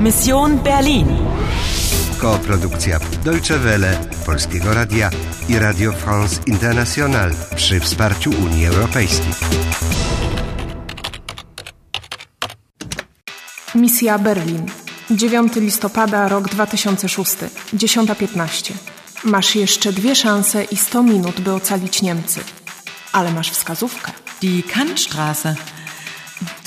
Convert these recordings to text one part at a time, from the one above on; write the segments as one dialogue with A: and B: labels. A: Mission Berlin.
B: Koprodukcja Deutsche Welle, Polskiego Radia i Radio France International przy wsparciu Unii Europejskiej.
C: Misja Berlin. 9 listopada, rok 2006, 10.15. Masz jeszcze dwie szanse i 100 minut, by ocalić Niemcy. Ale masz wskazówkę.
D: Die Kantstraße.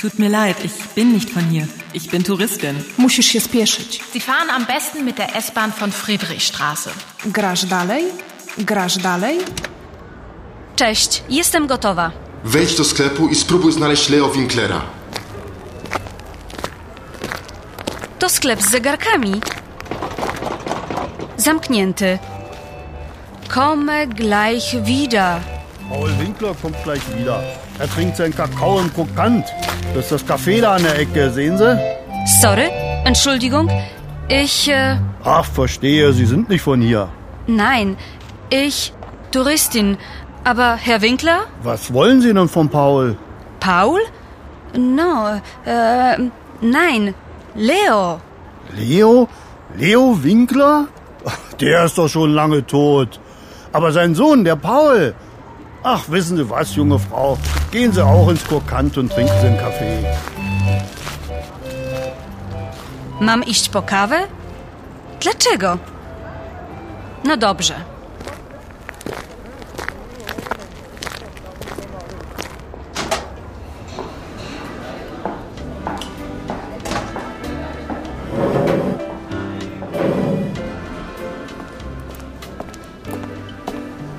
D: Tut mir leid, ich bin nicht von hier. Ich bin Touristin.
C: Musisz się spieszyć.
E: Sie fahren am besten mit der S-Bahn von Friedrichstraße.
C: Grasz dalej, grasz dalej.
F: Cześć, jestem gotowa.
G: Wejdź do sklepu i spróbuj znaleźć Leo Winklera.
F: To sklep z zegarkami. Zamknięty. Komme gleich wieder.
H: Paul Winkler kommt gleich wieder. Er trinkt seinen Kakao im Krokant. Das ist das Café da an der Ecke, sehen Sie?
F: Sorry, Entschuldigung. Ich. Äh,
H: Ach, verstehe, Sie sind nicht von hier.
F: nein, ich. Touristin. Aber Herr Winkler?
H: Was wollen Sie denn von Paul?
F: Paul? No, äh, nein. Leo.
H: Leo? Leo Winkler? Ach, Der ist doch schon lange tot. Aber sein Sohn, der Paul. Ach, wissen Sie was, junge Frau? Gehen Sie auch ins Krokant und trinken Sie einen Kaffee.
F: Mam iść po kawę? Dlaczego? No dobrze.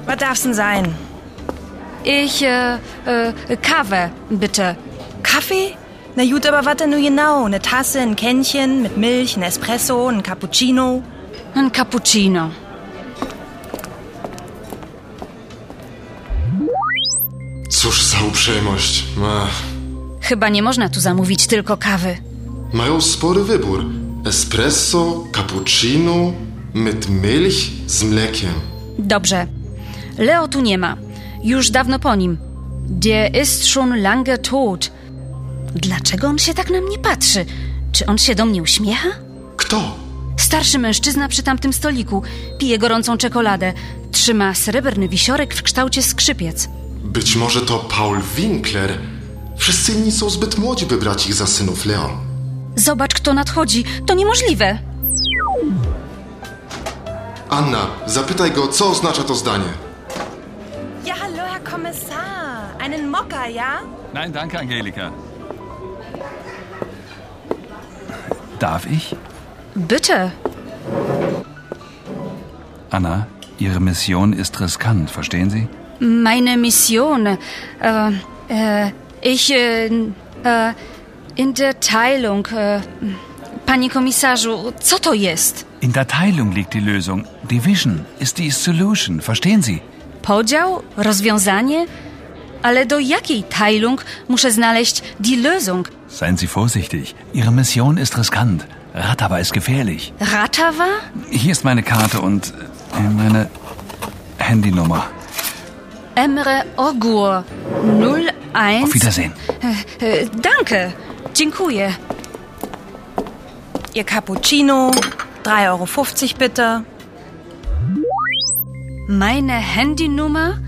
I: Was darf's denn sein?
F: Ich, äh, äh, Kawę, bitte.
I: Kaffee? Na gut, aber was denn nun genau? Eine Tasse, ein Kännchen mit Milch, ein Espresso, ein Cappuccino?
F: Ein Cappuccino.
G: Cóż za uprzejmość. Ach.
F: Chyba nie można tu zamówić tylko kawy.
G: Mają spory wybór. Espresso, cappuccino, mit Milch z mlekiem.
F: Dobrze. Leo tu nie ma. Już dawno po nim. Der ist schon lange tot. Dlaczego on się tak na mnie patrzy? Czy on się do mnie uśmiecha?
G: Kto?
F: Starszy mężczyzna przy tamtym stoliku pije gorącą czekoladę. Trzyma srebrny wisiorek w kształcie skrzypiec.
G: Być może to Paul Winkler. Wszyscy inni są zbyt młodzi, by brać ich za synów Leo.
F: Zobacz, kto nadchodzi. To niemożliwe.
G: Anna, zapytaj go, co oznacza to zdanie.
I: Ja, hallo, Herr Kommissar. Einen Mokka, ja?
J: Nein, danke, Angelika. Darf ich?
F: Bitte.
J: Anna, Ihre Mission ist riskant, verstehen Sie?
F: Meine Mission. Äh, äh, ich äh, äh, in der Teilung. Äh, Panie komisarzu, co to jest?
J: In der Teilung liegt die Lösung. Division ist die Solution, verstehen Sie?
F: Podział? Rozwiązanie? Ale do jakiej Teilung muszę znaleźć die Lösung?
J: Seien Sie vorsichtig. Ihre Mission ist riskant. Ratava ist gefährlich.
F: Ratawa?
J: Hier ist meine Karte und äh, meine Handynummer.
F: Emre Ogur 01.
J: Auf Wiedersehen.
F: Äh, äh, danke. Dziękuję.
I: Ihr Cappuccino, 3,50 Euro bitte.
F: Meine Handynummer?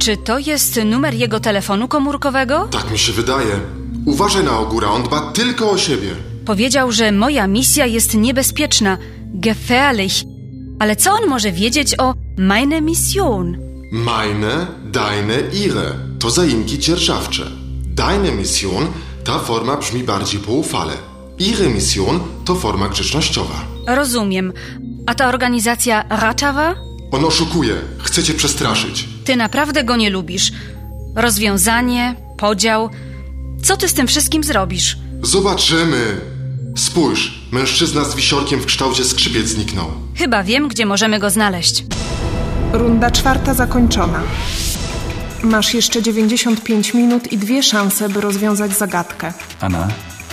F: Czy to jest numer jego telefonu komórkowego?
G: Tak mi się wydaje. Uważaj na Ogura, on dba tylko o siebie.
F: Powiedział, że moja misja jest niebezpieczna, gefährlich. Ale co on może wiedzieć o meine Mission?
G: Meine, deine, ihre to zaimki dzierżawcze. Deine Mission ta forma brzmi bardziej poufale. Ihre Mission to forma grzecznościowa.
F: Rozumiem. A ta organizacja Ratawa?
G: On oszukuje, chce cię przestraszyć.
F: Ty naprawdę go nie lubisz. Rozwiązanie, podział. Co ty z tym wszystkim zrobisz?
G: Zobaczymy. Spójrz, mężczyzna z wisiorkiem w kształcie skrzypiec zniknął.
F: Chyba wiem, gdzie możemy go znaleźć.
C: Runda czwarta zakończona. Masz jeszcze 95 minut i dwie szanse, by rozwiązać zagadkę.
J: Anna,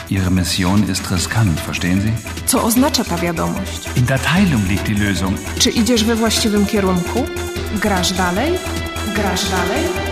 J: Ihre Mission ist riskant, verstehen Sie?
C: Co oznacza ta wiadomość?
J: In der Teilung liegt die Lösung.
C: Czy idziesz we właściwym kierunku? Grasz dalej? Grasz dalej?